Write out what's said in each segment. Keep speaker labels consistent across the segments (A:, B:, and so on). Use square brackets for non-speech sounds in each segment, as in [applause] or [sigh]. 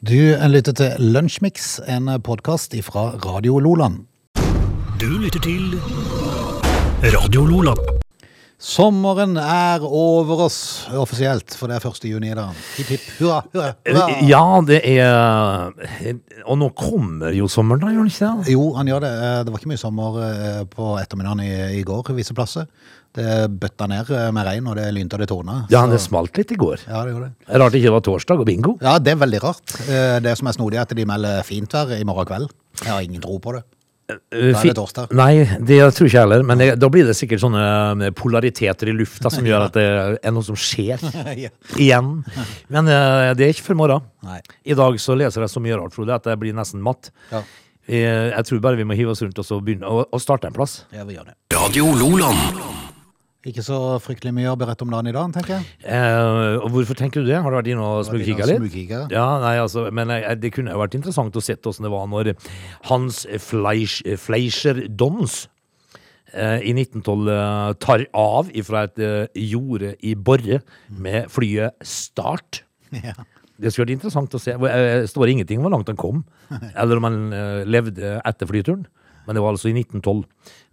A: Du lytter til Lunsjmix, en podkast fra Radio Loland.
B: Du lytter til Radio Lola.
A: Sommeren er over oss offisielt, for det er 1. juni i dag. Hipp, hipp, hurra, hurra, hurra.
C: Eh, Ja, det er Og nå kommer jo sommeren, da, gjør den ikke det?
A: Jo, han gjør det. Eh, Det var ikke mye sommer eh, på ettermiddagen i, i går visse plasser. Det bøtta ned eh, med regn, og det lynte og det tona.
C: Ja, det smalt litt i går.
A: Ja, det gjorde det.
C: Rart det ikke var torsdag og bingo.
A: Ja, det er veldig rart. Eh, Det som er snodig, er at de melder fint vær i morgen kveld. Jeg har ingen tro på det. [laughs]
C: Da
A: er det torsdag.
C: Eh, Nei, det tror jeg ikke heller. Men det, da blir det sikkert sånne eh, polariteter i lufta som gjør at det er noe som skjer.
A: Ja.
C: Igjen. Men eh, det er ikke før morgen.
A: Nei.
C: I dag så leser jeg så mye rart, Frode, at jeg blir nesten matt.
A: Ja.
C: Eh, Jeg tror bare vi må hive oss rundt og så begynne å, å starte en plass.
A: Ja, vi gjør det.
B: Radio Loland.
A: Ikke så fryktelig mye å berette om dagen i dag, tenker jeg.
C: Eh, og hvorfor tenker du det? Har du vært inne og
A: vært inne
C: smugkikka
A: og
C: litt?
A: smugkikket.
C: Ja, nei, altså, men jeg, jeg- det kunne jo vært interessant å sett åssen det var når Hans Fleisch, eh, Fleischer Dons eh, i 1912 eh, tar av ifra et eh, jorde i Borre med flyet Start.
A: [laughs] Ja.
C: Det skulle vært interessant å se. Hvor- eh, Det står ingenting om hvor langt han kom, eller om han eh, levde etter flyturen. Men det var altså i 1912.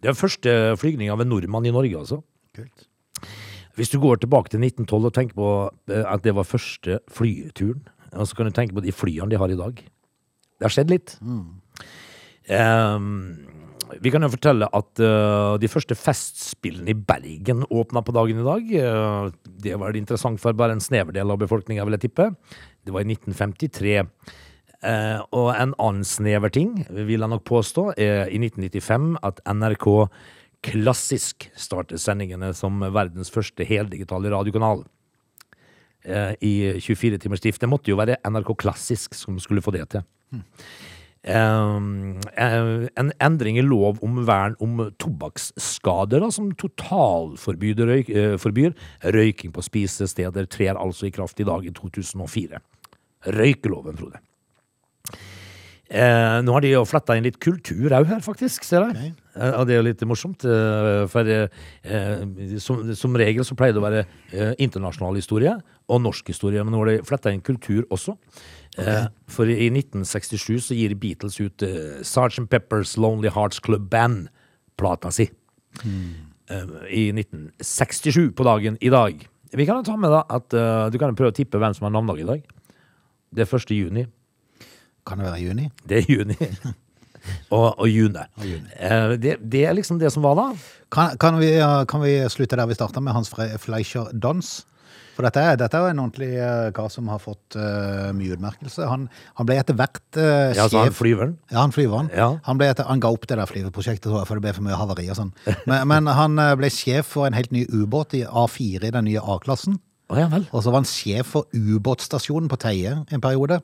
C: Det er første flygning av en nordmann i Norge, altså.
A: Kult.
C: Hvis du går tilbake til 1912 og tenker på eh, at det var første flyturen, og så kan du tenke på de flyene de har i dag. Det har skjedd litt. Eh, vi kan jo fortelle at eh, de første festspillene i Bergen åpna på dagen i dag. Eh, det var interessant for bare en snever del av befolkninga, vil jeg tippe. Det var i 1953. Eh, og en annen snever ting, vil jeg nok påstå, er i 1995 at NRK klassisk startet sendingene som verdens første heldigitale radiokanal. Eh, I 24 timers drift. Det måtte jo være NRK Klassisk som skulle få det til. Um, eh, en endring i lov om vern om tobakksskader, da, som totalforbyr røyk, eh, forbyr røyking på spisesteder, trer altså i kraft i dag i 2004. Røykeloven, Frode. Eh, nå har de jo fletta inn litt kultur òg her, faktisk. ser jeg. Eh, og det er jo litt morsomt. Eh, for eh, eh, som, som regel så pleier det å være eh, internasjonal historie og norsk historie, men nå har de fletta inn kultur også. Eh, for i 1967 så gir Beatles ut eh, Sgt. Peppers Lonely Hearts Club Band-plata si. Eh, I 1967 på dagen i dag. Vi kan jo ta med da at eh, du kan jo prøve å tippe hvem som har navnedag i dag. Det er 1. juni.
A: Kan det være juni?
C: Det er [laughs] juni. og, og june. Eh, det, det er liksom det som var da.
A: Kan, kan, vi, eh, kan vi slutte der vi starta med Hans Fre- Fleischer Dans? For dette er, dette er en ordentlig eh, kar som har fått eh, mye utmerkelse. Han, han ble etter hvert eh,
C: Ja, så han
A: sjef
C: flyveren.
A: ja, han flyver han.
C: Ja.
A: Han, ble etter, han ga opp det der flyveprosjektet, tror jeg, for det ble for mye havari og sånn. Men, men han eh, ble sjef for en helt ny ubåt i A4 i den nye A-klassen.
C: Å ja vel.
A: Og så var han sjef for ubåtstasjonen på Teie en periode.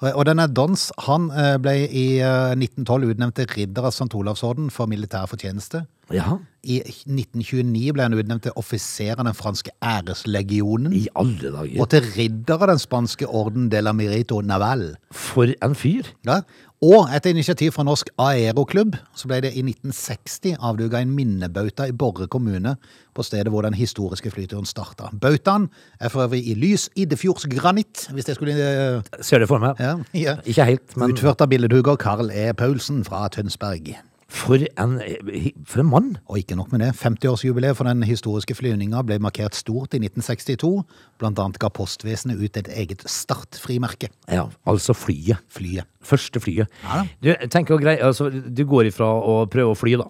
A: Og, og denne Dons han eh, ble i eh, 1912 utnevnt til ridder av St. Olavsorden for militær fortjeneste.
C: Ja.
A: I 1929 ble han utnevnt til offiser av den franske æreslegionen
C: I alle dager.
A: og til ridder av den spanske orden de la Merito Naval.
C: For en fyr.
A: Ja. Og etter initiativ fra Norsk Aeroklubb så ble det i 1960 avduka en minnebauta i Borre kommune på stedet hvor den historiske flyturen starta. Bautaen er for øvrig i lys iddefjordsgranitt, hvis det skulle eh,
C: Ser det for meg.
A: ja, [laughs] ja.
C: Ikke helt, men
A: Utført av billedhugger Carl E. Paulsen fra Tønsberg.
C: for en, eh, for en mann.
A: Og ikke nok med det, 50-årsjubileet for den historiske flyvninga ble markert stort i 1962. Blant annet ga Postvesenet ut et eget startfrimerke.
C: Ja, altså flyet.
A: Flyet.
C: Første flyet.
A: Ja da.
C: Du, tenk å greie, altså, du går ifra å prøve å fly, da.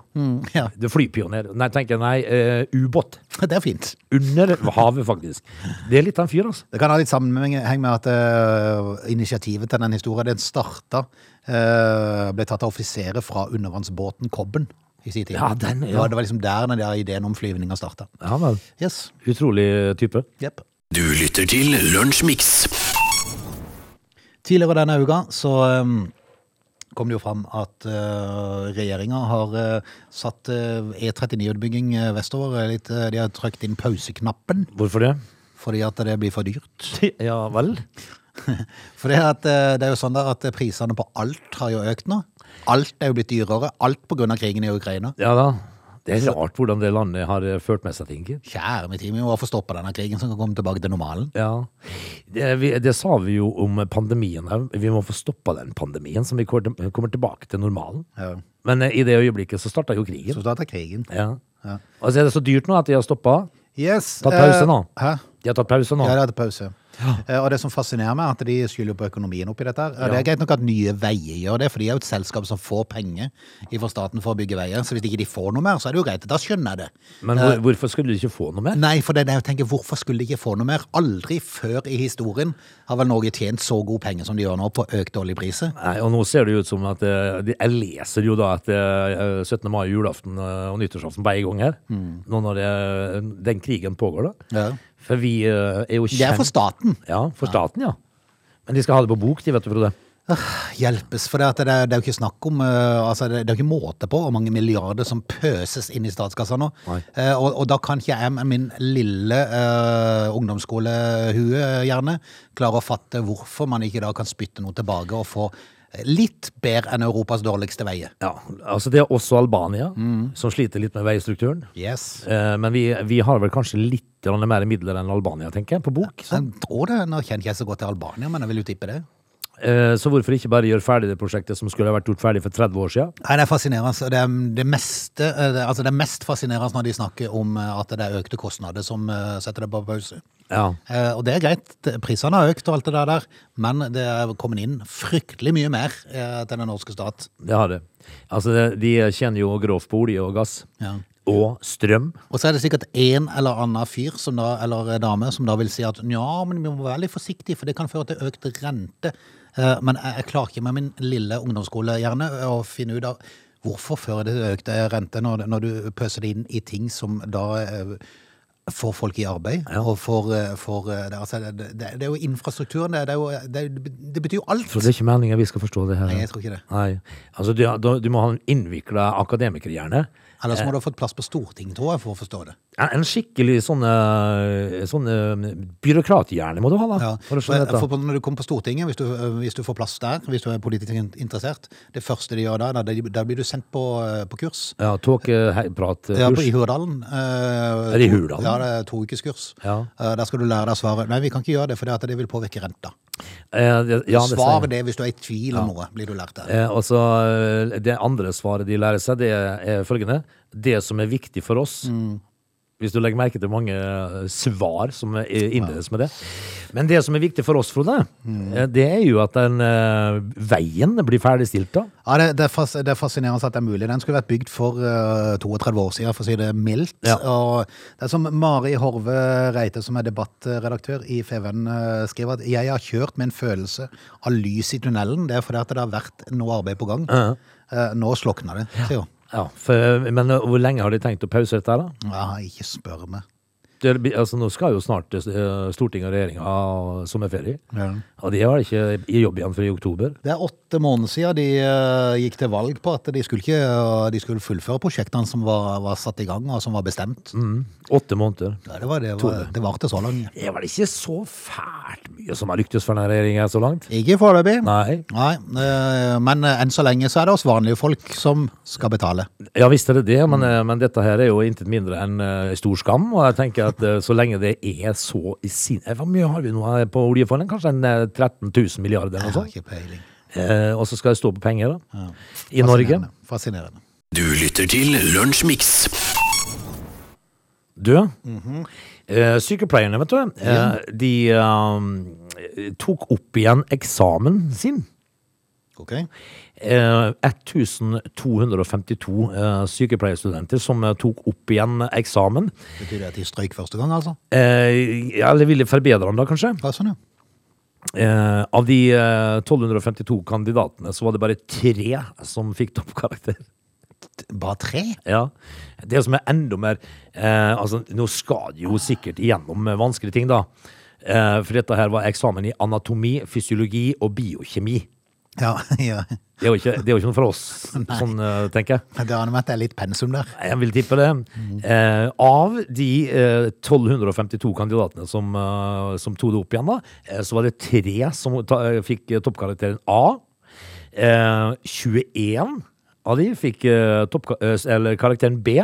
A: Ja, [laughs]
C: Du er flypioner. Nei, tenker jeg, nei, eh, ubåt.
A: det er fint.
C: Under havet, faktisk. Det er litt av en fyr, altså.
A: Det kan ha litt sammenheng med at eh, initiativet til den historien den starta, eh, ble tatt av offiserer fra undervannsbåten Kobben i sin tid.
C: Ja, den, ja.
A: Det, var, det var liksom der den der ideen om flyvninga starta.
C: Ja vel.
A: Yes.
C: Utrolig type.
A: Jepp.
B: Du lytter til Lunsjmix.
A: Tidligere denne uka så um, kom det jo fram at uh, regjeringa har uh, satt uh, E39-utbygging uh, vestover uh, litt. Uh, de har trykt inn pauseknappen
C: Hvorfor det?
A: fordi at det blir for dyrt.
C: [laughs] Ja vel.
A: For det, at, uh, det er jo sånn der at prisene på alt har jo økt nå. Alt er jo blitt dyrere. Alt pga. krigen i Ukraina.
C: Ja da. Det er rart hvordan det landet har eh, ført med seg ting. gitt.
A: Kjære min tid, vi må få stoppa denne krigen, så kan komme tilbake til normalen.
C: Ja. Det, vi, det sa vi jo om pandemien òg. Vi må få stoppa den pandemien, som vi kommer til- kommer tilbake til normalen.
A: Ja.
C: Men eh, i det øyeblikket så starta jo krigen.
A: Så starter krigen.
C: Ja. Og så er det så dyrt nå at de har stoppa.
A: Yes.
C: Ta pause
A: eh,
C: nå.
A: Hæ?
C: De har tatt pause nå.
A: Ja, det er pause. Eh, Og det som fascinerer meg, er at de skylder på økonomien oppi dette. her. Eh, Det er greit nok at Nye Veier gjør det, for de er jo et selskap som får penger fra staten for å bygge veier. Så hvis ikke de får noe mer, så er det jo greit. Da skjønner jeg det.
C: Men
A: Eh.
C: hvor, hvorfor skulle de ikke få noe mer?
A: Nei, for det er det jeg tenker, hvorfor skulle de ikke få noe mer? Aldri før i historien har vel Norge tjent så god penger som de gjør nå på økte oljepriser.
C: Nei, og nå ser det jo ut som at eh, de- Jeg leser jo da at eh, 17. mai, julaften eh, og nyttårsaften på en gang her. Nå når det, den krigen pågår, da.
A: Mm. Ja.
C: For vi eh, er jo
A: Det er
C: kjent
A: for staten.
C: Ja, for staten, ja. Men de skal ha det på bok, de, vet du, Frode.
A: Hjelpes, for det, at det, er- det er jo ikke snakk om eh, altså det, det er jo ikke måte på hvor mange milliarder som pøses inn i statskassa nå.
C: Nei.
A: Eh, og, og da kan ikke jeg med min lille uh, ungdomsskolehue eh, gjerne klare å fatte hvorfor man ikke da kan spytte noe tilbake og få eh, litt bedre enn Europas dårligste veier.
C: Ja, altså Det er også Albania,
A: Mm.
C: som sliter litt med veistrukturen.
A: Yes.
C: Eh, men vi, vi har vel kanskje litt grann mer midler enn Albania, tenker jeg, på bok. Så,
A: Jeg tror det, Nå kjenner ikke jeg så godt til Albania, men jeg vil jo tippe det.
C: eh, så hvorfor ikke bare gjøre ferdig det prosjektet som skulle ha vært gjort ferdig for 30 år siden?
A: Nei, Det er fascinerende. og Det, er det, meste, eh, det, altså det er mest fascinerende når de snakker om eh, at det er økte kostnader som eh, setter det på pause.
C: Ja.
A: Eh, Og det er greit, Det- prisene har økt og alt det der, der, men det er kommet inn fryktelig mye mer eh, til den norske stat.
C: Det har det. Altså, det- de tjener jo grovt på olje og gass.
A: Ja.
C: Og strøm.
A: Og så er det sikkert en eller annen fyr som da, eller dame som da vil si at ja, men vi må være litt forsiktige, for det kan føre til økt rente. Eh, Men jeg jeg klarer ikke med min lille ungdomsskolehjerne å finne ut av hvorfor fører det til økt eh, rente når, når du pøser det inn i ting som da eh, får folk i arbeid. og får, eh, får, eh, det, altså, det, det, det er jo infrastrukturen, det, det, er jo, det, det betyr jo alt.
C: For det er ikke meningen vi skal forstå det her.
A: Nei, jeg tror ikke det.
C: Nei. Altså, du, du, du må ha en innvikla akademikerhjerne.
A: Ellers må du ha fått plass på Stortinget, tror jeg, for å forstå det.
C: En- En skikkelig sånn, eh, sånn eh, byråkrathjerne må du ha, da.
A: Ja.
C: For å
A: For,
C: skjønne dette.
A: for når du kommer på Stortinget, hvis du, øh, hvis du får plass der, hvis du er politisk in- interessert, det første de gjør da, da, da blir du sendt på, øh, på kurs.
C: Ja, tåkeprat.
A: Ja, på,
C: kurs.
A: I Hurdalen. øh,
C: Er det i
A: to-
C: Hurdalen?
A: Ja, det er to ukes kurs.
C: Ja.
A: Eh, der skal du lære deg å svare. Nei, vi kan ikke gjøre det, for det, at det vil påvirke renta.
C: Eh, det- ja, det
A: Svar
C: sier jeg.
A: det hvis du er i tvil om noe, blir du lært det.
C: Eh, og så, eh, det andre svaret de lærer seg, det er følgende. Det som er viktig for oss Hvis du legger merke til mange eh, svar som eh, innledes med det. Men det som er viktig for oss, Frode, eh, det er jo at den eh, veien blir ferdigstilt, da.
A: Ja, det, det, er fas, det er fascinerende at det er mulig. Den skulle vært bygd for eh, 32 år siden, for å si det mildt.
C: Ja.
A: Og det er som Mari Horve Reite, som er debattredaktør i Feven, eh, skriver at jeg har kjørt med en følelse av lys i tunnelen. Det er fordi at det har vært noe arbeid på gang. Eh, nå slokner det, sier hun.
C: Ja, for, men eh, hvor lenge har de tenkt å pause dette, her, da?
A: Ja, ikke spør meg.
C: Det, blir- altså, nå skal jo snart eh, Stortinget og regjeringa ha sommerferie.
A: Ja.
C: Og de har ikke i jobb igjen før i oktober.
A: Det er åtte måneder siden de eh, gikk til valg på at de skulle, ikke, eh, de skulle fullføre prosjektene som var, var satt i gang, og som var bestemt.
C: Mm. Åtte måneder.
A: Ja, det var det. Var, det varte så langt.
C: Det er vel ikke så fælt mye som har lyktes for denne regjeringa så langt?
A: Ikke foreløpig.
C: Nei.
A: Nei, eh, men eh, enn så lenge så er det oss vanlige folk som skal betale.
C: Ja visst er det det, men, eh, men dette her er jo intet mindre enn eh, stor skam. Og jeg tenker at eh, så lenge det er så i sin... Eh, Hvor mye har vi nå eh, på oljefondet? Kanskje en eh, 13 000 milliarder
A: Jeg har
C: eller noe
A: Altså,
C: sånt?
A: ikke peiling.
C: Eh, og så skal det stå på penger, da. I Norge.
A: Fascinerende. Fascinerende.
B: Du lytter til Lunsjmix.
C: Du, eh, sykepleierne, vet du, eh, de eh, tok opp igjen eksamen sin.
A: Ok.
C: Eh, 1252 eh, sykepleierstudenter som eh, tok opp igjen eksamen.
A: Betyr det at de strøyk første gang, altså?
C: Eh, ja, eller ville forbedre den, da, kanskje.
A: Ja, sånn, ja.
C: Eh, av de eh, 1252 kandidatene så var det bare tre som fikk toppkarakter. [laughs]
A: Bare tre?
C: Ja. Det som er enda mer eh, altså, Nå skal de jo sikkert igjennom eh, vanskelige ting, da. Eh, for dette her var eksamen i anatomi, fysiologi og biokjemi.
A: Ja, [laughs] ja.
C: Det er jo ikke, det er jo ikke noe for oss, sånn eh, tenker jeg.
A: Det aner meg at det er litt pensum
C: [laughs]
A: der.
C: Jeg vil tippe det. Eh, av de eh, 1252 kandidatene som, eh, som tok det opp igjen, da, eh, så var det tre som ta, eh, fikk eh, toppkarakteren A. Eh, 21 av de fikk eh, toppka- eh, eller karakteren B.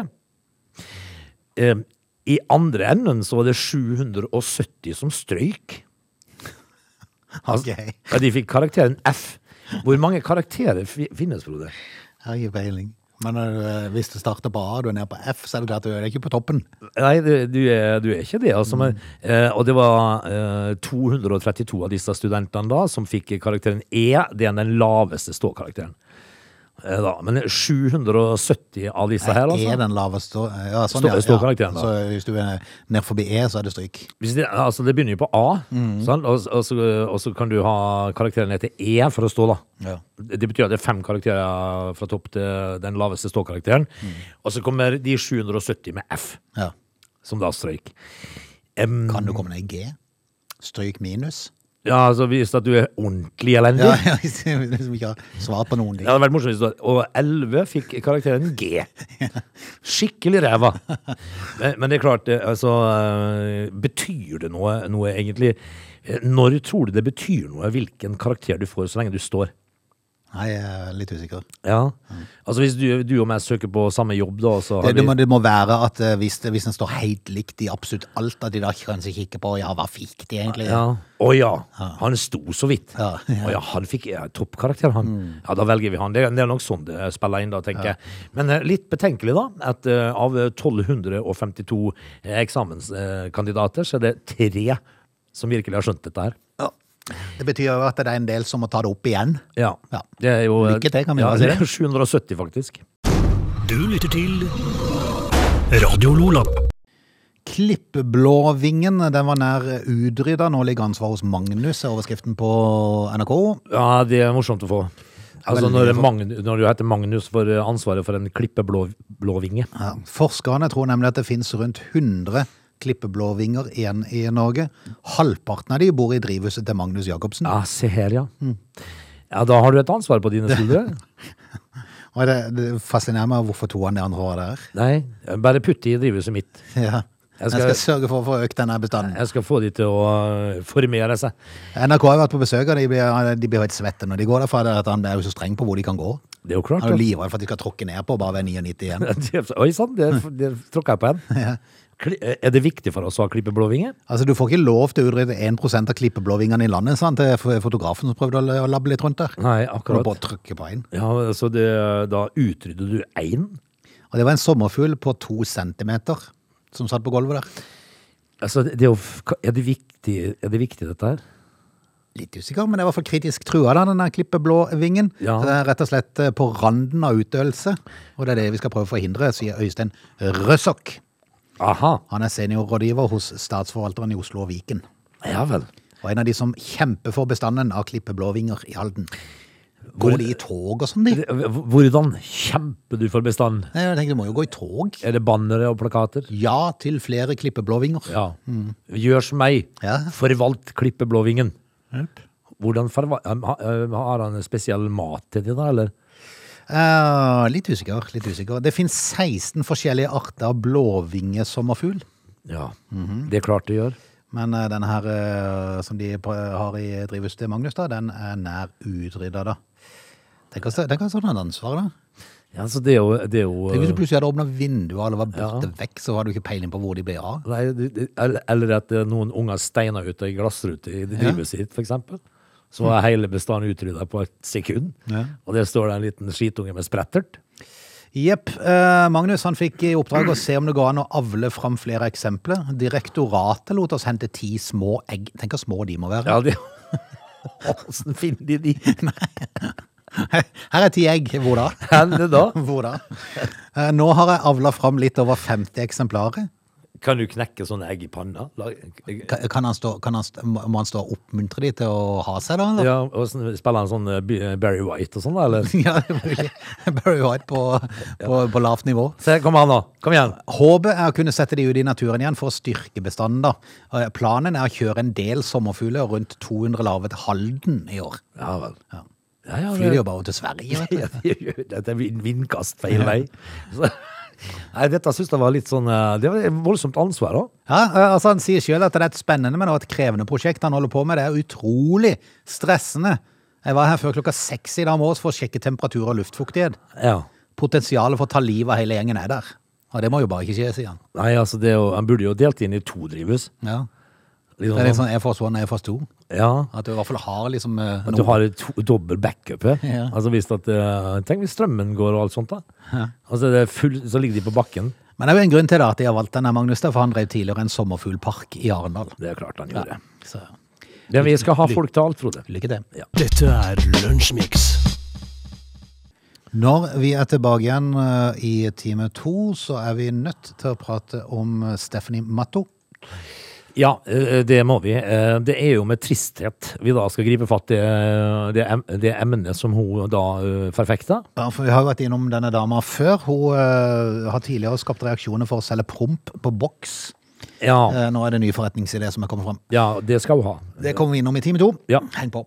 C: Eh, I andre enden så var det 770 som strøyk.
A: Ok.
C: Ja, de fikk karakteren F. Hvor mange karakterer fi- finnes, Frode?
A: Jeg har ikke peiling. Men eh, hvis det starter på A, du er nede på F, så er det klart du er ikke på toppen.
C: Nei, det- du er, du er ikke det. Altså, men, eh, og det var eh, 232 av disse studentene da som fikk karakteren E. Det er den laveste ståkarakteren. Eh, da. Men 770 av disse her,
A: Er
C: altså.
A: den laveste eh, ja, sånn,
C: Stå-
A: ja, ja.
C: ståkarakteren, da.
A: Så hvis du er ned forbi E, så er det stryk.
C: Hvis det, altså, det begynner jo på A, sant? Og, og, så, og så kan du ha karakteren etter E for å stå, da.
A: Ja.
C: Det det betyr at det er fem karakterer fra topp til den laveste ståkarakteren. Og så kommer de 770 med F,
A: Ja.
C: som da strøyk. Em,
A: Kan du komme ned i G? Stryk minus?
C: ja, altså Hvis at du er ordentlig elendig.
A: Ja, [laughs] ja, hvis du liksom ikke har svar på noen
C: Det
A: ting.
C: hadde vært morsomt hvis det var Og 11 fikk karakteren G. Skikkelig ræva. Men, men det er klart, det, altså eh, Betyr det noe, noe egentlig? Eh, Når tror du det betyr noe hvilken karakter du får, så lenge du står?
A: Nei, jeg er litt usikker.
C: Ja, altså Hvis du, du og meg søker på samme jobb, da så har
A: Det, det,
C: vi-
A: må, det må være at eh, hvis, det- hvis en står helt likt i absolutt alt, at de da kanskje kikker på ja, hva fikk de egentlig?
C: Ja. Å ja, han sto så vidt.
A: Ja, Mm.
C: Å ja, han fikk ja, toppkarakter, han. Ja, da velger vi han. Det, er- det er nok sånn det spiller inn, da, tenker jeg. Men eh, litt betenkelig, da, at eh, av 1252 eksamenskandidater, så er det tre som virkelig har skjønt dette her.
A: Ja. Det betyr jo at det er en del som må ta det opp igjen.
C: Ja.
A: Ja.
C: Det er jo eh,
A: Lykke til, kan vi
C: ja,
A: bare si
C: det [laughs]
A: det.
C: er 770, faktisk.
B: Du lytter til Radio Lola.
A: Klippblåvingen den var nær utrydda. Nå ligger ansvaret hos Magnus, er overskriften på NRK.
C: Ja, det er morsomt å få. Altså,
A: Veldig
C: når,
A: morsomt.
C: Magnus, når du heter Magnus, får eh, ansvaret for en klippeblå blå vinge.
A: Ja. Forskerne tror nemlig at det finnes rundt 100 klippeblåvinger igjen i Norge. Halvparten av de bor i drivhuset til Magnus Jacobsen.
C: Ja, se her, ja.
A: Mm.
C: Ja, Da har du et ansvar på
A: [laughs]
C: dine skuldre.
A: Og det, det fascinerer meg hvorfor to av de andre var der.
C: Nei, bare putt de i drivhuset mitt.
A: Ja.
C: Jeg
A: Jeg
C: skal-
A: skal, sørge for å få økt denne bestanden.
C: Jeg skal få de til å øh, formere seg.
A: NRK har vært på besøk, og de blir, de blir helt svette når de går derfra. Det er at han er jo så streng på hvor de kan gå.
C: Det er jo klart.
A: Han er jo
C: da.
A: livredd for at de skal tråkke ned på og bare være 99 igjen.
C: [laughs] Det- Oi sann, der, der tråkka jeg på [laughs] en. Kli- eh, Er det viktig for oss å ha klippeblåvinger?
A: Altså, Du får ikke lov til å utrydde 1 av klippeblåvingene i landet, sant? Det er f- fotografen som prøvde å la- å labbe litt rundt der.
C: Nei,
A: Kan du
C: akkurat.
A: bare trykke på en.
C: Ja, så det, da utrydder du én?
A: Og det var en sommerfugl på to centimeter som satt på gulvet der.
C: Altså, det er, jo, f- er, det viktig, er det viktig, dette her?
A: Litt usikker, men det var i hvert fall kritisk trua, da, den der klippeblåvingen.
C: Ja.
A: Så det er rett og slett eh, på randen av utdøelse, og det er det vi skal prøve å forhindre, sier Øystein Røsok.
C: Aha.
A: Han er seniorrådgiver hos statsforvalteren i Oslo og Viken.
C: Ja vel.
A: Og en av de som kjemper for bestanden av klippeblåvinger i Halden. Går de i tog og sånn, de?
C: Det- Hvordan kjemper du for bestanden?
A: Nei, Jeg tenkte, De må jo gå i tog.
C: Er det bannere og plakater?
A: Ja til flere klippeblåvinger.
C: Ja. Gjør som meg.
A: Ja.
C: Forvalt klippeblåvingen. Hvordan forva- um, ha- um, Har han en spesiell mat til det, da, eller?
A: Eh, litt usikker. litt usikker. Det finnes 16 forskjellige arter av blåvingesommerfugl.
C: Ja, det er klart det gjør.
A: Men eh, denne her eh, som de på- har i drivhuset til Magnus, da, den er nær utrydda, da. Tenk oss tenk oss hvordan han svarer, da.
C: Ja, så det er jo, det er jo eh,
A: Tenk hvis du plutselig hadde åpna vinduet, og alle var borte vekk, så hadde du ikke peiling på hvor de ble av.
C: nei, det- det- eller- Eller at det er noen unger steiner ut ei glassrute i drivhuset sitt, for eksempel. Så er hele bestanden utrydda på et sekund.
A: Ja.
C: Og der står det en liten skitunge med sprettert.
A: Jepp. Eh, Magnus han fikk i oppdrag å se om det går an å avle fram flere eksempler. Direktoratet lot oss hente ti små egg. Tenk hvor små de må være.
C: Ja, det [laughs] Åssen finner de de?
A: [laughs] Her er ti egg. Hvor da? [laughs]
C: Henne da?
A: Hvor da? Eh, nå har jeg avla fram litt over 50 eksemplarer.
C: Kan du knekke sånne egg i panna? Lag-
A: Ka- Kan han stå, kan han stå, må må han stå og oppmuntre de til å ha seg, da? eller?
C: Ja, og sånn- Spiller han sånn eh, B- Barry White og sånn, da? Eller?
A: [laughs] Ja, det blir Barry White på, på, på lavt nivå.
C: Se, kom an, da. Kom igjen.
A: Håpet er å kunne sette de ut i naturen igjen for å styrke bestanden. da. Eh, Planen er å kjøre en del sommerfugler og rundt 200 larver til Halden i år.
C: Ja vel.
A: Ja.
C: Ja, ja,
A: Flyr de
C: det-
A: jo bare over til Sverige. vet du.
C: [laughs] Ja, vi gjør det. Dette er vind- vindkast feil vei. Så, nei, dette syns jeg var litt sånn eh, Det var et voldsomt ansvar, da.
A: Ja, eh, altså Han sier sjøl at det er et spennende, men også et krevende prosjekt han holder på med. Det er utrolig stressende. Jeg var her før klokka seks i dag morges for å sjekke temperatur og luftfuktighet.
C: Ja.
A: Potensialet for å ta livet av hele gjengen er der. Ja, det må jo bare ikke skje, sier han.
C: Nei, altså, det er jo, han burde jo delt inn i to drivhus.
A: Ja.
C: Litt
A: Det er litt
C: sånn-
A: sånn Air Force One og Air Force Two.
C: Ja,
A: At du i hvert fall har liksom eh,
C: At du
A: noe.
C: har et ho- dobbel backup her.
A: Ja.
C: Altså hvis at, eh, tenk hvis strømmen går og alt sånt, da. Altså, det er full, så ligger de på bakken.
A: Men det er jo en grunn til da at de har valgt denne Magnus, da, for han drev tidligere en sommerfuglpark i Arendal.
C: Det er klart han gjorde.
A: Så
C: Men vi skal ha folk til alt, Frode.
A: lykke til.
B: Dette er Lunsjmix.
A: Når vi er tilbake igjen eh, i time to, så er vi nødt til å prate om eh, Stephanie Matto.
C: Ja, eh, det må vi. Eh, Det er jo med tristhet vi da skal gripe fatt i eh, det, em- det emnet som hun da eh, forfekta.
A: Ja, for Vi har jo vært innom denne dama før. Hun eh, har tidligere skapt reaksjoner for å selge promp på boks.
C: Ja,
A: Eh, nå er det en ny forretningsidé som er kommet fram.
C: ja, det skal hun ha.
A: Det kommer vi innom i time to.
C: Ja.
A: Heng på.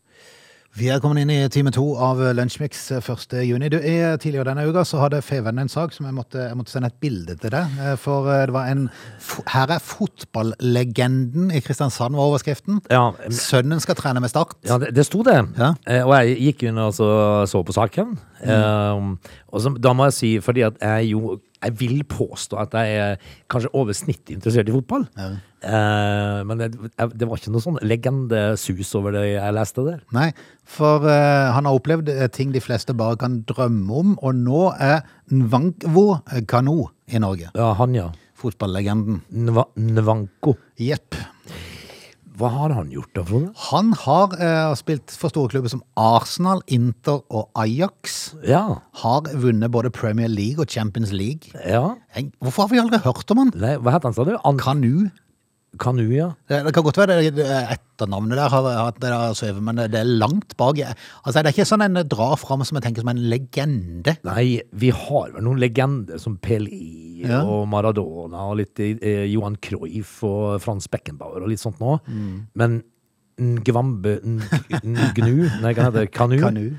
A: Vi er kommet inn i time to av Lunsjmix 1. juni. Du, jeg, tidligere denne uka så hadde Feven en sak som jeg måtte, jeg måtte sende et bilde til deg. eh, For eh, det var en fo- Her er fotballegenden i Kristiansand, var overskriften.
C: Ja, eh,
A: Sønnen skal trene med Start.
C: ja det, det sto det.
A: Ja.
C: Eh, Og jeg gikk inn og så, så på saken. Eh, Og så, da må jeg si, fordi at jeg jo jeg vil påstå at jeg er kanskje over snittet interessert i fotball. Eh, Men det, jeg- det var ikke noe sånn legendesus over det jeg leste der.
A: Nei, for eh, han har opplevd eh, ting de fleste bare kan drømme om, og nå er Nvankvo Kano i Norge.
C: Ja, han, ja.
A: Fotballegenden.
C: Nva, Nvanko.
A: Jepp.
C: Hva har han gjort da, Frode?
A: Han har eh, spilt for store klubber som Arsenal, Inter og Ajax.
C: Ja.
A: Har vunnet både Premier League og Champions League.
C: ja.
A: Jeg- Hvorfor har vi aldri hørt om han?
C: Nei, hva het han, sa du? An
A: Kanu?
C: Kanu, ja.
A: Det det kan godt være det- det etternavnet der har hatt det der søvet, men det er langt bak. Jeg- Altså, det er ikke sånn en drar fram som jeg tenker som en legende.
C: Nei, vi har vel noen legender som Pelé
A: Ja.
C: og Maradona og litt eh, Johan Cruyff og Frans Beckenbauer og litt sånt nå.
A: Mm.
C: Men Ngvambe Ngnu Nei, hva heter det? Kanu?
A: Kanu.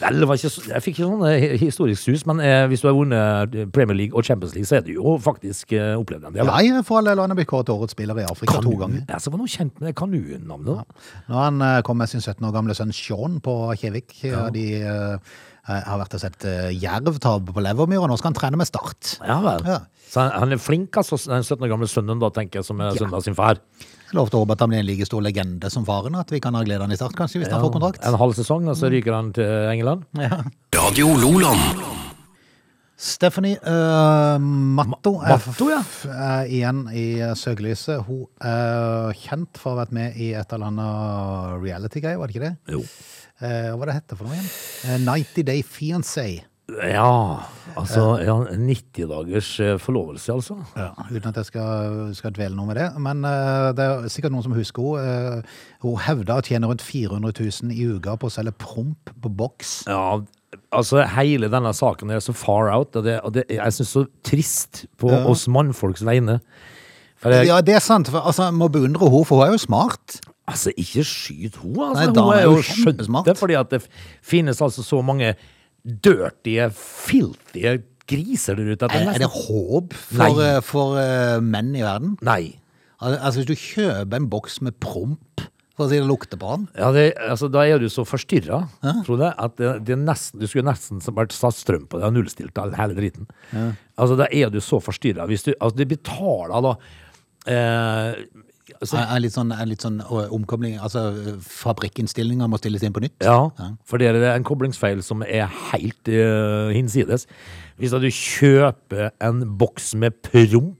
C: Vel, det var ikke, så- jeg fikk ikke sånn eh, historisk sus, men eh, hvis du har vunnet Premier League og Champions League, så er du jo faktisk eh, opplevd en del. da.
A: Nei, for all del, han er blitt kåret til årets spiller i Afrika to ganger.
C: Ja, så var noe kjent med det Kanu-navnet. da.
A: Når han eh, kom med sin 17 år gamle sønn Sean på Kjevik, ja. de eh, har vært og sett eh, jerv tape på Levermyr, og nå skal han trene med Start.
C: Ja vel.
A: Ja.
C: Så han, han er flink, altså, den 17 år gamle sønnen, da, tenker jeg, som er sønnen av sin far.
A: Jeg lovte Håpe at han blir en like stor legende som faren, at vi kan ha glede av han i Start, kanskje, hvis han får kontrakt.
C: En halv sesong,
A: Mm.
C: og så ryker han til England.
B: Radio Loland.
A: Stephanie eh, Matto,
C: Ma- Matto, ja.
A: er, f- er igjen i eh, søkelyset. Hun er kjent for å ha vært med i et eller annet reality-greie, var det ikke det?
C: Jo.
A: Eh, hva var det hette for noe igjen? Eh, 90 Day Fiancé.
C: Ja, altså ja, 90 dagers eh, forlovelse, altså.
A: Ja, uten at jeg skal, skal dvele noe med det. Men eh, det er sikkert noen som husker henne. Eh, hun hevda å tjene rundt 400 000 i uka på å selge promp på boks.
C: Ja, altså hele denne saken er så far out, og det, og det jeg synes så trist på oss mannfolks vegne. For jeg,
A: Ja, det er sant. For, altså, jeg må beundre henne, for hun er jo smart.
C: altså, ikke skyt henne, altså.
A: Nei,
C: hun
A: dama
C: er
A: er
C: jo
A: jo kjempesmart.
C: skjønte, fordi at det finnes altså så mange dirtige, filtige griser der ute. at
A: Er,
C: nesten-
A: er det håp
C: Nei.
A: for, eh, for eh, menn i verden?
C: Nei.
A: Al- Altså, hvis du kjøper en boks med promp, for å si det lukter på den
C: Ja, det, altså, da er du så forstyrra, Frode, at det, det er nesten, du skulle nesten som vært satt strøm på det og nullstilt all- hele driten. Altså, da er du så forstyrra. Hvis du altså, du betaler da eh, altså,
A: er, er litt sånn, er litt sånn eh, omkobling Altså, eh, fabrikkinnstillinger må stilles inn på nytt.
C: ja, for det er en koblingsfeil som er helt eh, hinsides. Hvis da du kjøper en boks med promp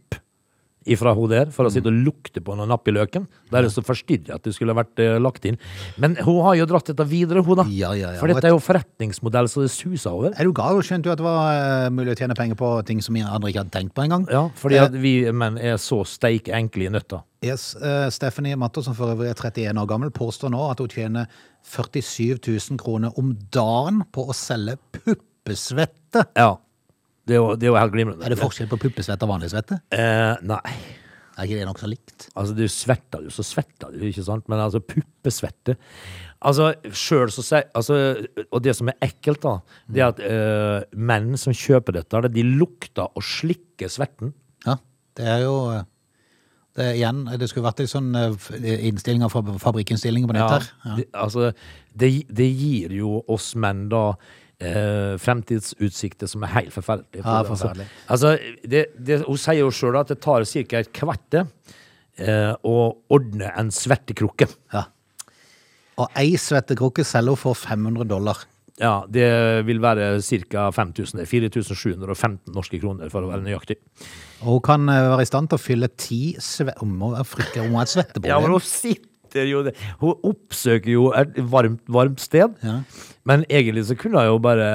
C: ifra hun der, for å sitte og lukte på den og nappe i løken, da er det så forstyrra at det skulle vært eh, lagt inn. Men hun har jo dratt dette videre, hun da.
A: Ja, ja, ja.
C: For dette er jo forretningsmodell så det suser over.
A: Er du gal? Hun skjønte jo at det var eh, mulig å tjene penger på ting som andre ikke hadde tenkt på engang.
C: Ja, fordi at vi menn er så steik enkle i nøtta.
A: Yes, eh, Stephanie Matto, som for øvrig er 31 år gammel, påstår nå at hun tjener 47 000 kroner om dagen på å selge puppesvette.
C: Ja. Det er jo, det er jo helt glimrende.
A: Er det forskjell på puppesvette og vanlig svette?
C: Eh, nei.
A: Er ikke det nokså likt?
C: Altså, du svetter jo, så svetter du, ikke sant? Men altså, puppesvette Altså, sjøl så sier altså, Og det som er ekkelt, da, det er at eh, menn som kjøper dette, de lukter og slikker svetten.
A: Ja, det er jo eh, det, er igjen, det skulle vært en sånn eh, f- innstilling av fab- fabrikkinnstilling på nett her. Ja.
C: Det, altså, det, det gir jo oss menn da eh, fremtidsutsikter som er helt forferdelige.
A: Ja,
C: For
A: forferdelig.
C: Altså, altså, det, det, hun sier jo sjøl at det tar ca. et kvarter eh, å ordne en svettekrukke.
A: Ja. Og ei svettekrukke selger hun for 500 dollar.
C: Ja, det vil være ca. 5000. 4715 norske kroner, for å være nøyaktig.
A: Og hun kan eh, være i stand til å fylle ti sve... Hun må være fryktelig- hun må ha et
C: Ja,
A: svettebord.
C: men hun sitter jo der. Hun oppsøker jo et varmt, varmt sted.
A: Ja.
C: Men egentlig så kunne hun jo bare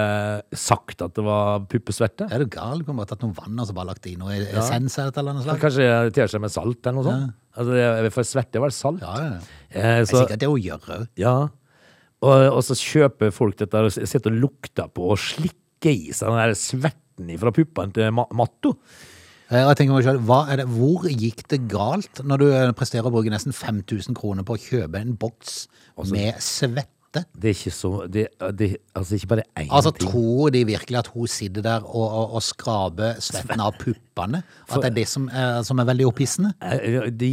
C: sagt at det var puppesvette.
A: er du gal? Du kunne bare tatt noe vann og så bare lagt i noe essens eller et eller annet
C: Men
A: slag.
C: Kanskje jeg teer seg med salt eller noe sånt. Altså, det- for svette er vel salt?
A: Ja, ja, ja.
C: Eh,
A: Det er
C: så,
A: sikkert det hun gjør òg.
C: ja. og, og så kjøper folk dette og s- sitter og lukter på og slikker i seg den der svetten fra puppene til ma Matto.
A: Eh, og Jeg tenker meg selv, hva er det, Hvor gikk det galt når du eh, presterer å bruke nesten 5000 kroner på å kjøpe en boks med svette?
C: Det er ikke så det, det, Altså ikke bare én
A: Altså,
C: ting.
A: Tror de virkelig at hun sitter der og, og, og skraper svetten av puppene? At det er det som er, som er veldig opphissende?
C: Eh, De,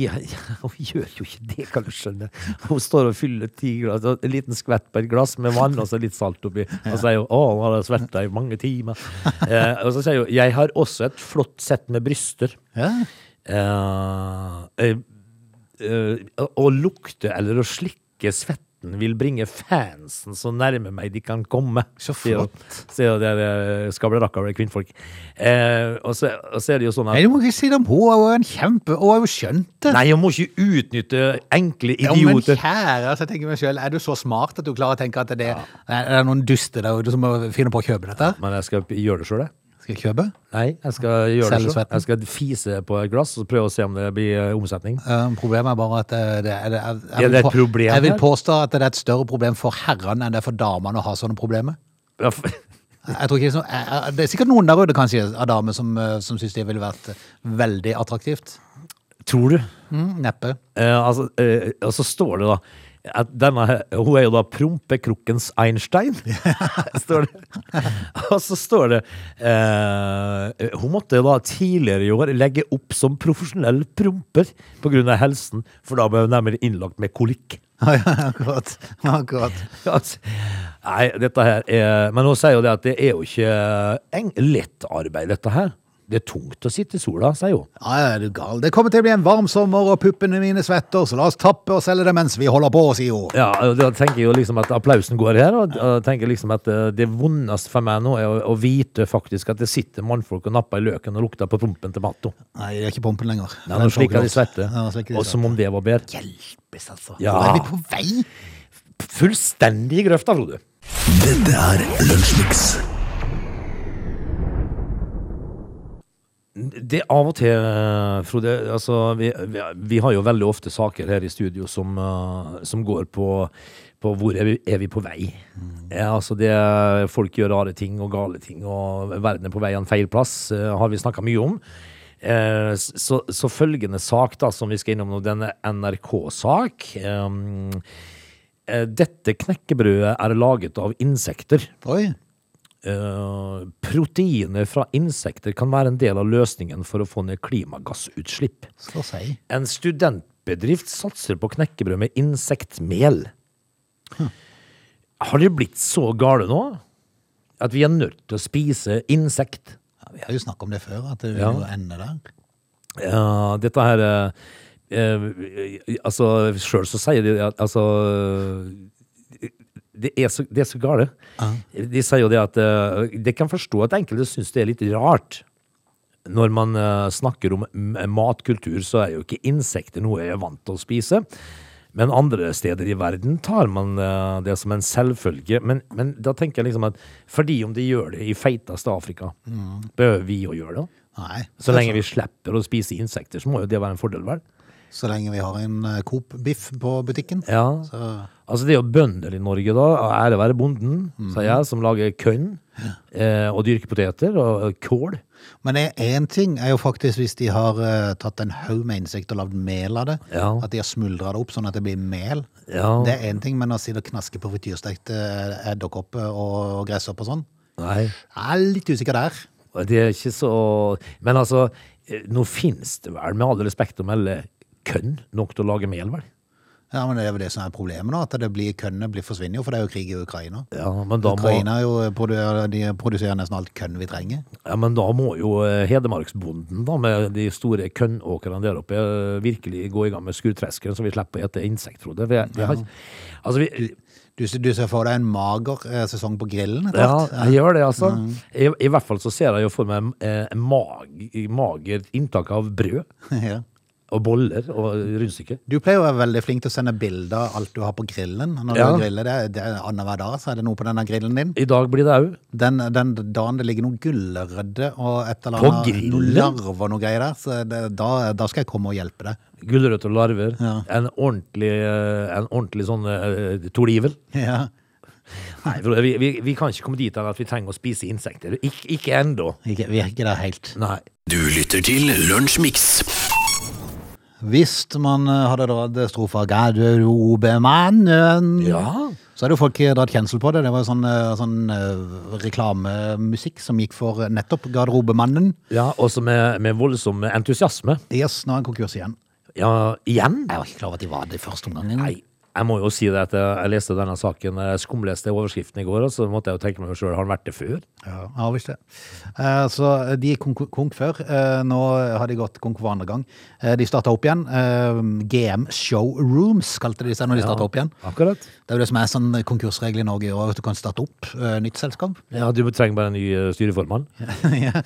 C: hun gjør jo ikke det, kan du skjønne. Hun står og fyller ti glass, og en liten skvett på et glass med vann og så litt salt oppi. Og sier jo 'Å, nå har jeg sverta i mange
A: [laughs]
C: timer'. Eh, og så sier hun 'Jeg har også et flott sett med bryster'.
A: Ja.
C: Eh, eh, eh, å lukte eller å slikke svetten vil bringe fansen så nærme meg de kan komme.
A: Så
C: Sier jo der eh, skablerrakka og kvinnfolk. Eh, og, så, og så er det jo sånn at
A: Nei, du må ikke si det om henne. Hun er jo en kjempe, hun har jo skjønt det.
C: Nei, jeg må ikke utnytte enkle
A: Ja, men
C: idioter.
A: kjære, altså, jeg tenker meg selv, er du så smart at du klarer å tenke at det er det noen duster der ute som finner på å kjøpe dette?
C: Men jeg skal gjøre det sjøl, jeg.
A: Skal jeg kjøpe?
C: Nei, jeg skal gjøre
A: Selge
C: det selv.
A: svetten?
C: Jeg skal fise på et glass og prøve å se om det blir eh, omsetning.
A: Um, problemet er bare at eh, det, er- det, er- jeg,
C: Er det
A: vil
C: et
A: på-
C: problem
A: jeg vil
C: her?
A: påstå at det er et større problem for herrene enn det er for damene å ha sånne problemer.
C: Ja, f-
A: Jeg tror ikke, det er så- eh, eh, det er sikkert noen der ute kanskje av damer som, eh, som syns det ville vært eh, veldig attraktivt.
C: [laughs] Tror du?
A: Mm, neppe.
C: Eh, altså, eh, og så står det da at denne, Hun er jo da prompekrukkens Einstein, [laughs] står det. Og så står det eh, Hun måtte da tidligere i år legge opp som profesjonell promper pga. helsen, for da ble hun nærmere innlagt med kolikk.
A: [laughs]
C: [laughs]
A: Ja, akkurat. akkurat.
C: Altså, Nei, dette her er Men hun sier jo det at det er jo ikke eng, lett arbeid, dette her. Det er tungt å sitte i sola, sier hun.
A: Ja, ja, er du gal. Det kommer til å bli en varm sommer, og puppene mine svetter, så la oss tappe og selge det mens vi holder på, sier hun.
C: Ja, og Da tenker jeg jo liksom at applausen går her, og og tenker liksom at eh, det vondeste for meg nå er å, å vite faktisk at det sitter mannfolk og napper i løken og lukter på prompen til Matto.
A: Nei, det er ikke pumpen lenger.
C: Ja, nå slikker de svette.
A: Ja, nå slikker de
C: Og som om det var bedre.
A: Hjelpes, altså.
C: Ja.
A: Hvor er vi på vei?
C: Fullstendig i grøfta, Frode.
B: Dette er Lunsjmix.
C: Det er av og til, eh, Frode altså, vi, vi, vi har jo veldig ofte saker her i studio som, eh, som går på, på hvor er vi, er vi på vei.
B: Mm.
C: Ja, altså det, folk gjør rare ting og gale ting, og verden er på vei av en feil plass, eh, har vi snakka mye om. Eh, s- Så, så følgende sak da, som vi skal innom nå, den er NRK-sak. Um, eh, Dette knekkebrødet er laget av insekter.
A: Oi.
C: Eh, proteiner fra insekter kan være en del av løsningen for å få ned klimagassutslipp.
A: Så si.
C: En studentbedrift satser på knekkebrød med insektmel. Har det blitt så gale nå at vi er nødt til å spise insekt?
A: Ja, vi har jo snakket om det før, at det vil
C: Ja.
A: jo ende der.
C: Ja, dette her eh, eh, Altså, sjøl så sier de at altså det er, så, det er så gale. De sier jo det at eh, De kan forstå at enkelte syns det er litt rart. Når man eh, snakker om m- matkultur, så er jo ikke insekter noe jeg er vant til å spise. Men andre steder i verden tar man eh, det som en selvfølge. Men, men da tenker jeg liksom at fordi om de gjør det i feiteste Afrika, behøver vi å gjøre det?
A: Nei.
C: Så lenge vi slipper å spise insekter, så må jo det være en fordel, vel?
A: Så lenge vi har en eh, Coop-biff på butikken.
C: Ja.
A: Så
C: Altså, det er jo bønder i Norge, da. Ære være bonden, sier jeg, som lager kønn eh, og dyrker poteter og og kål.
A: Men én ting er jo faktisk hvis de har eh, tatt en haug med insekter og lagd mel av det.
C: Ja.
A: At de har smuldra det opp sånn at det blir mel.
C: Ja.
A: Det er én ting, men å sitte og knaske på eh, frityrstekte edderkopper og gresshopp og sånn,
C: Nei.
A: jeg er litt usikker der.
C: Det er ikke så Men altså, eh, nå finnes det vel, med all respekt å melde, kønn nok til å lage mel, vel?
A: Ja, men Det er jo det som er problemet nå, at det blir kønnet blir forsvinner jo, for det er jo krig i Ukraina.
C: Ja, men da må,
A: Ukraina er jo, produ- de produserer nesten alt kønn vi trenger.
C: ja, men da må jo eh, Hedmarksbonden, da, med de store kønnåkrene der oppe, eh, virkelig gå i gang med skurtresken, så vi slipper å ete insekter, tror jeg. Vi, vi har, altså, vi,
A: Du, du ser for deg en mager eh, sesong på grillen etter
C: Ja,
A: hvert.
C: jeg gjør det, altså. I, I hvert fall så ser jeg jo for meg eh, en mag, magert inntak av brød
A: [laughs] Ja.
C: og boller og rundstykker.
A: Du pleier å være veldig flink til å sende bilder av alt du har på grillen. Når
C: Ja.
A: du griller, det, er- det er Annenhver dag så er det noe på denne grillen din.
C: I dag blir det òg.
A: Den, den dagen det ligger noen gulrødder og et eller
C: På
A: annet
C: grillen?
A: noen larver og noe greier der, så det, da, da skal jeg komme og hjelpe deg. [laughs]
C: Gulrøtter og larver.
A: Ja.
C: En, ordentlig, eh, en ordentlig sånn eh, tordivel.
A: Ja.
C: Nei, for vi, vi, vi kan ikke komme dit hen at vi trenger å spise insekter. Ik, ikke ennå.
A: Ikke, vi er ikke der helt.
C: Nei.
B: Du lytter til Lunsjmix.
A: Hvis man eh, hadde dratt strofa Garderobemannen,
C: Ja.
A: så hadde jo folk eh, dratt kjensel på det. Det var jo sånn, eh, sånn eh, reklamemusikk som gikk for nettopp Garderobemannen.
C: ja også med, med voldsom entusiasme.
A: Yes, nå er han konkurs igjen.
C: Ja, igjen.
A: Jeg var ikke klar over at de var det i første omgang. engang.
C: Nei, jeg må jo si det at jeg jeg leste denne saken, jeg skumleste overskriften i går, og så måtte jeg jo tenke meg sjøl, har han vært det før?
A: Ja, ja visst det. Eh, Så de gikk konk- konk før. Eh, Nå har de gått konk for andre gang. Eh, De starta opp igjen. Eh, GM Showrooms kalte de seg når de starta opp igjen.
C: Akkurat.
A: Det er jo det som er sånn konkursregel i Norge i år, at du kan starte opp eh, nytt
C: [laughs]
A: selskap.
C: Ja, du trenger bare en ny eh, styreformann.
A: Ja.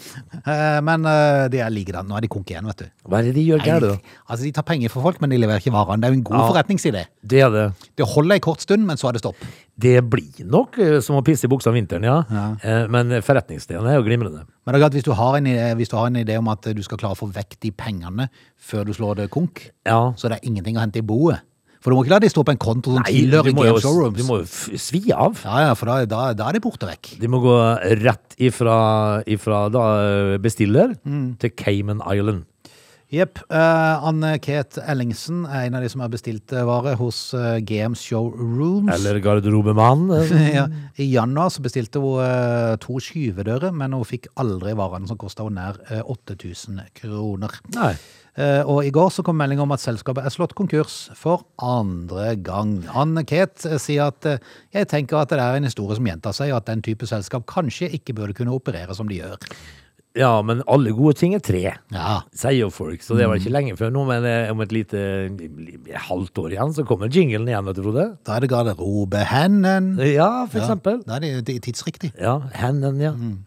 A: Eh, Men eh, de er likedan. Nå er de konk igjen, vet du.
C: Hva er det de gjør gærent, da?
A: Altså, De tar penger for folk, men de leverer ikke varene. Det er jo en god
C: Ja.
A: forretningsidé.
C: Det er det.
A: Det holder en kort stund, men så er det stopp.
C: Det blir nok eh, som å pisse i buksa om vinteren, ja. Eh, Men forretningsstedene er jo glimrende.
A: Men det er klart, hvis du, har en, idé- hvis du har en idé om at du skal klare å få vekk de pengene før du slår det konk,
C: Ja.
A: så det er ingenting å hente i boet. For du må ikke la de stå på en konto som tilhører
C: du må
A: Game
C: jo, du
A: Showrooms.
C: må jo f- svi av.
A: Ja, ja, for da, da, da er de borte vekk.
C: De må gå rett ifra, ifra da, eh, bestiller til Cayman Island.
A: Jepp. eh, Anne Ket Ellingsen er en av de som har bestilt eh, vare hos eh, GM Showrooms.
C: Eller garderobemannen.
A: [laughs]
C: eh. [laughs]
A: Ja. I januar så bestilte hun eh, to skyvedører, men hun fikk aldri varene som kosta henne nær eh, 8000 kroner.
C: Nei.
A: Eh, og i går så kom melding om at selskapet er slått konkurs for andre gang. Anne Ket eh, sier at eh, jeg tenker at det er en historie som gjentar seg, og at den type selskap kanskje ikke burde kunne operere som de gjør.
C: Ja, men alle gode ting er tre.
A: Ja,
C: Sier jo folk, så det var ikke lenge før nå, men eh, om et lite eh, halvt år igjen så kommer jinglen igjen, vet du, Frode.
A: da er det garderobehennen.
C: Ja, for eksempel.
A: Da er det- det er tidsriktig.
C: Ja, henden, ja.
A: Mm.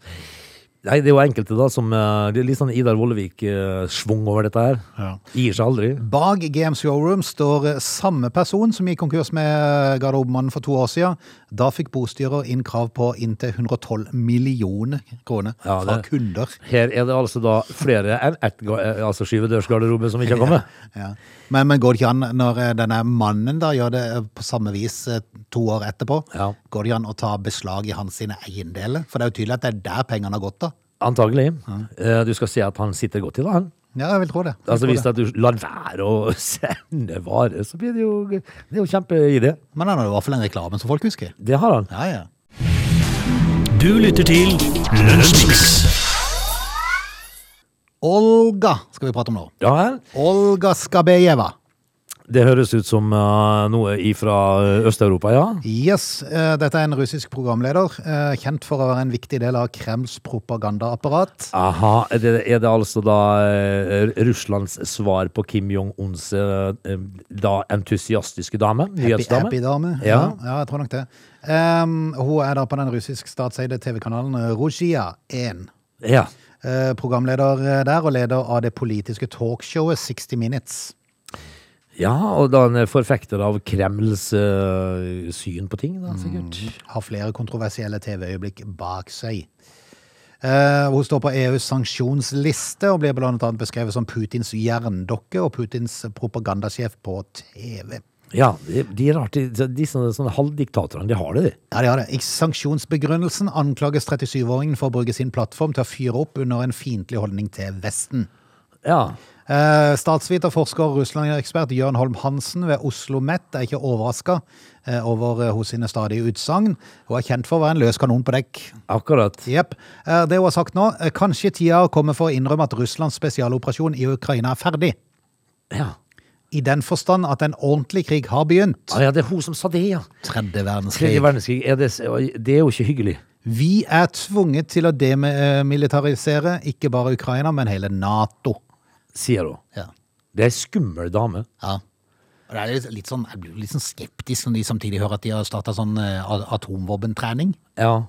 C: Nei, det er jo enkelte da som eh, Det er litt sånn Idar Vollevik-svung over dette her.
A: Ja.
C: Gir seg aldri.
A: Bak GM Showroom står eh, samme person som gikk konkurs med Garderobemannen for to år siden. Da fikk bostyrer inn krav på inntil 112 millioner kroner
C: Ja,
A: fra
C: det-
A: kunder.
C: Her er det altså da flere enn ett ga- eh, altså skyvedørsgarderobe som ikke har kommet.
A: [laughs] Ja. Men, men går det ikke an, når eh, denne mannen da gjør det eh, på samme vis eh, to år etterpå,
C: Ja.
A: går det ikke an å ta beslag i hans sine eiendeler? For det er jo tydelig at det er der pengene har gått da.
C: Antagelig. Eh, Du skal se at han sitter godt i da, han.
A: Ja, jeg vil tro det. Jeg
C: Altså
A: tror
C: Hvis
A: det.
C: at du lar være å [laughs] sende varer, så blir det jo Det er jo kjempeidé.
A: Men han har jo i hvert fall en reklame som folk husker.
C: Det har han.
A: Ja, ja.
B: Du lytter til Lunsjmix.
A: Olga skal vi prate om nå.
C: Ja, her.
A: Olga Skabejeva.
C: Det høres ut som eh, noe ifra eh, Øst-Europa, ja.
A: Yes, eh, dette er en russisk programleder, eh, kjent for å være en viktig del av Kremls propagandaapparat.
C: Aha, er det, er det altså da eh, Russlands svar på Kim Jong-uns eh, eh, da entusiastiske dame?
A: Happy,
C: Nyhetsdame?
A: happy dame. Ja.
C: Ja.
A: ja, jeg tror nok det. Em, hun er da på den russisk statseide TV-kanalen Ruzhia 1.
C: Ja.
A: Eh, programleder der og leder av det politiske talkshowet 60 Minutes.
C: ja, og da en forfekter av Kremls eh, syn på ting, da, sikkert.
A: Har flere kontroversielle TV-øyeblikk bak seg. Eh, hun står på EUs sanksjonsliste og blir blant annet beskrevet som Putins jerndokke og Putins propagandasjef på TV.
C: Ja, de, de, er rart, de, de sånne, sånne halvdiktatorene, de har det, de.
A: Ja, det har det. I sanksjonsbegrunnelsen anklages 37-åringen for å bruke sin plattform til å fyre opp under en fiendtlig holdning til Vesten.
C: Ja.
A: Eh, Statsviter, forsker og Russland-ekspert Jørn Holm Hansen ved Oslo Met er ikke overraska eh, over eh, hos sine stadige utsagn. Hun er kjent for å være en løs kanon på dekk.
C: Akkurat.
A: Jepp. Eh, Det hun har sagt nå, eh, kanskje tida har kommet for å innrømme at Russlands spesialoperasjon i Ukraina er ferdig.
C: Ja.
A: I den forstand at en ordentlig krig har begynt.
C: Ah, ja, det er hun som sa det, ja.
A: Tredje
C: Tredje
A: verdenskrig.
C: verdenskrig. Er det, s- det er jo ikke hyggelig.
A: Vi er tvunget til å demilitarisere ikke bare Ukraina, men hele Nato.
C: sier hun.
A: Ja.
C: Det er ei skummel dame.
A: ja. Og det er litt- litt sånn, jeg blir litt sånn skeptisk når de samtidig hører at de har starta sånn eh, a- atomvåpentrening.
C: Ja.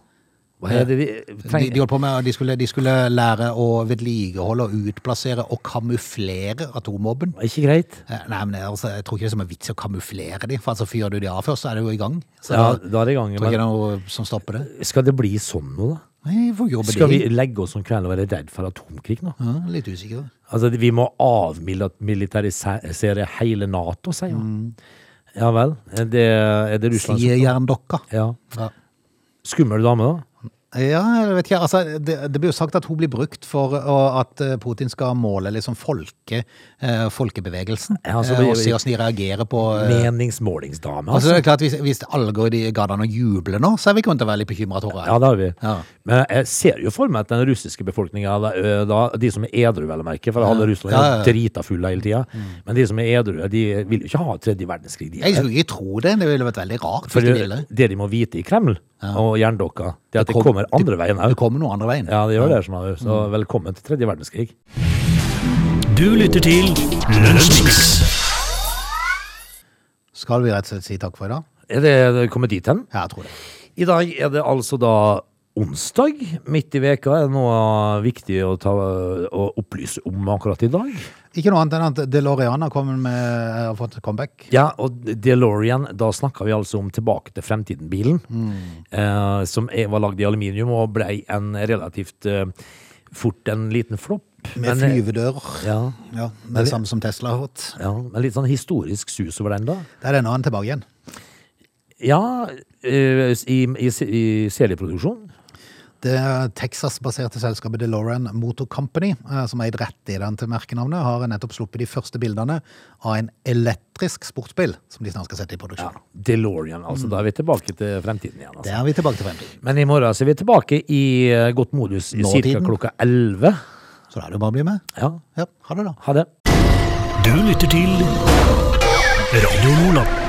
C: Hva er det vi
A: De, de
C: trenger?
A: holdt på med, de skulle, de skulle lære å vedlikeholde og utplassere og kamuflere atomvåpen.
C: Ikke greit.
A: Eh, Nei, men det er altså, jeg tror ikke det er som en vits å kamuflere de, for altså fyrer du de av først, så er det jo i gang. Så
C: Ja,
A: da,
C: da er det i
A: tror
C: gang.
A: ikke det
C: Men
A: er noe som stopper det.
C: skal det bli sånn nå, da?
A: Nei, hvor jobber
C: Skal vi
A: de?
C: legge oss om kvelden og være redd for atomkrig nå?
A: Ja, litt usikker.
C: Altså, vi må avmilitarisere hele Nato, sier hun. Ja vel. Er det, er det Russland som
A: Mm. Sier jerndokka.
C: ja.
A: Ja.
C: Skummel dame, da.
A: Ja, jeg vet ikke. Altså, det, det blir jo sagt at hun blir brukt for å- at eh, Putin skal måle liksom folke, eh, folkebevegelsen,
C: Ja, altså,
A: eh,
C: vi-
A: og se hvordan de reagerer på eh,
C: Meningsmålingsdame,
A: Altså,
C: altså.
A: det er klart, hvis, hvis alle går i de gadene og jubler nå, så er vi grunn til å være litt bekymra, tror jeg.
C: Ja, det har vi.
A: Ja.
C: Men jeg ser jo for meg at den russiske befolkninga, de som er edru, vel å merke, for alle russere
A: Ja, ja, ja.
C: er drita fulle hele tida, men de som er edru, de vil jo ikke ha tredje verdenskrig. De,
A: Jeg skulle ikke tro det. Det ville vært veldig rart.
C: for
A: hvis de
C: det,
A: ville.
C: det de må vite i Kreml og jerndokka, det er at det,
A: kom-
C: kommer andre veien
A: Det
C: òg.
A: kommer noe andre veien.
C: Ja, det gjør det. Sånn, så velkommen til tredje verdenskrig.
B: Du lytter til Lunsjmix.
A: Skal vi rett og slett si takk for i dag?
C: Er det, er det kommet dit hen?
A: Ja, jeg tror det.
C: I dag er det altså da onsdag midt i veka. Er det noe viktig å, ta, å opplyse om akkurat i dag?
A: Ikke noe annet enn at DeLorean har kommet med, har fått comeback.
C: Ja, og DeLorean, da snakka vi altså om Tilbake til fremtiden-bilen. Eh, som er, var lagd i aluminium og blei en relativt eh, fort en liten flopp.
A: Med
C: Men, eh,
A: flyvedører.
C: Ja,
A: Ja, det samme som Tesla har fått.
C: ja, men litt sånn historisk sus over den, da.
A: Det er denne han er tilbake igjen.
C: Ja, eh, i, i, i serieproduksjon.
A: Det Texas-baserte selskapet DeLorean Motor Company, eh, som er rettighetene til merkenavnet, har nettopp sluppet de første bildene av en elektrisk sportsbil som de snart skal sette i
C: Ja,
A: produksjon.
C: DeLorean, altså. Da er vi tilbake til fremtiden igjen.
A: Det
C: altså.
A: er vi tilbake til fremtiden.
C: Men i morgen så er vi tilbake i eh, godt modus i ca.
A: Nåtiden.
C: klokka 11.
A: Så da er det jo bare å bli med.
C: Ja,
A: Ja, ha det, da.
C: ha det.
B: Du lytter til Radio Nordland.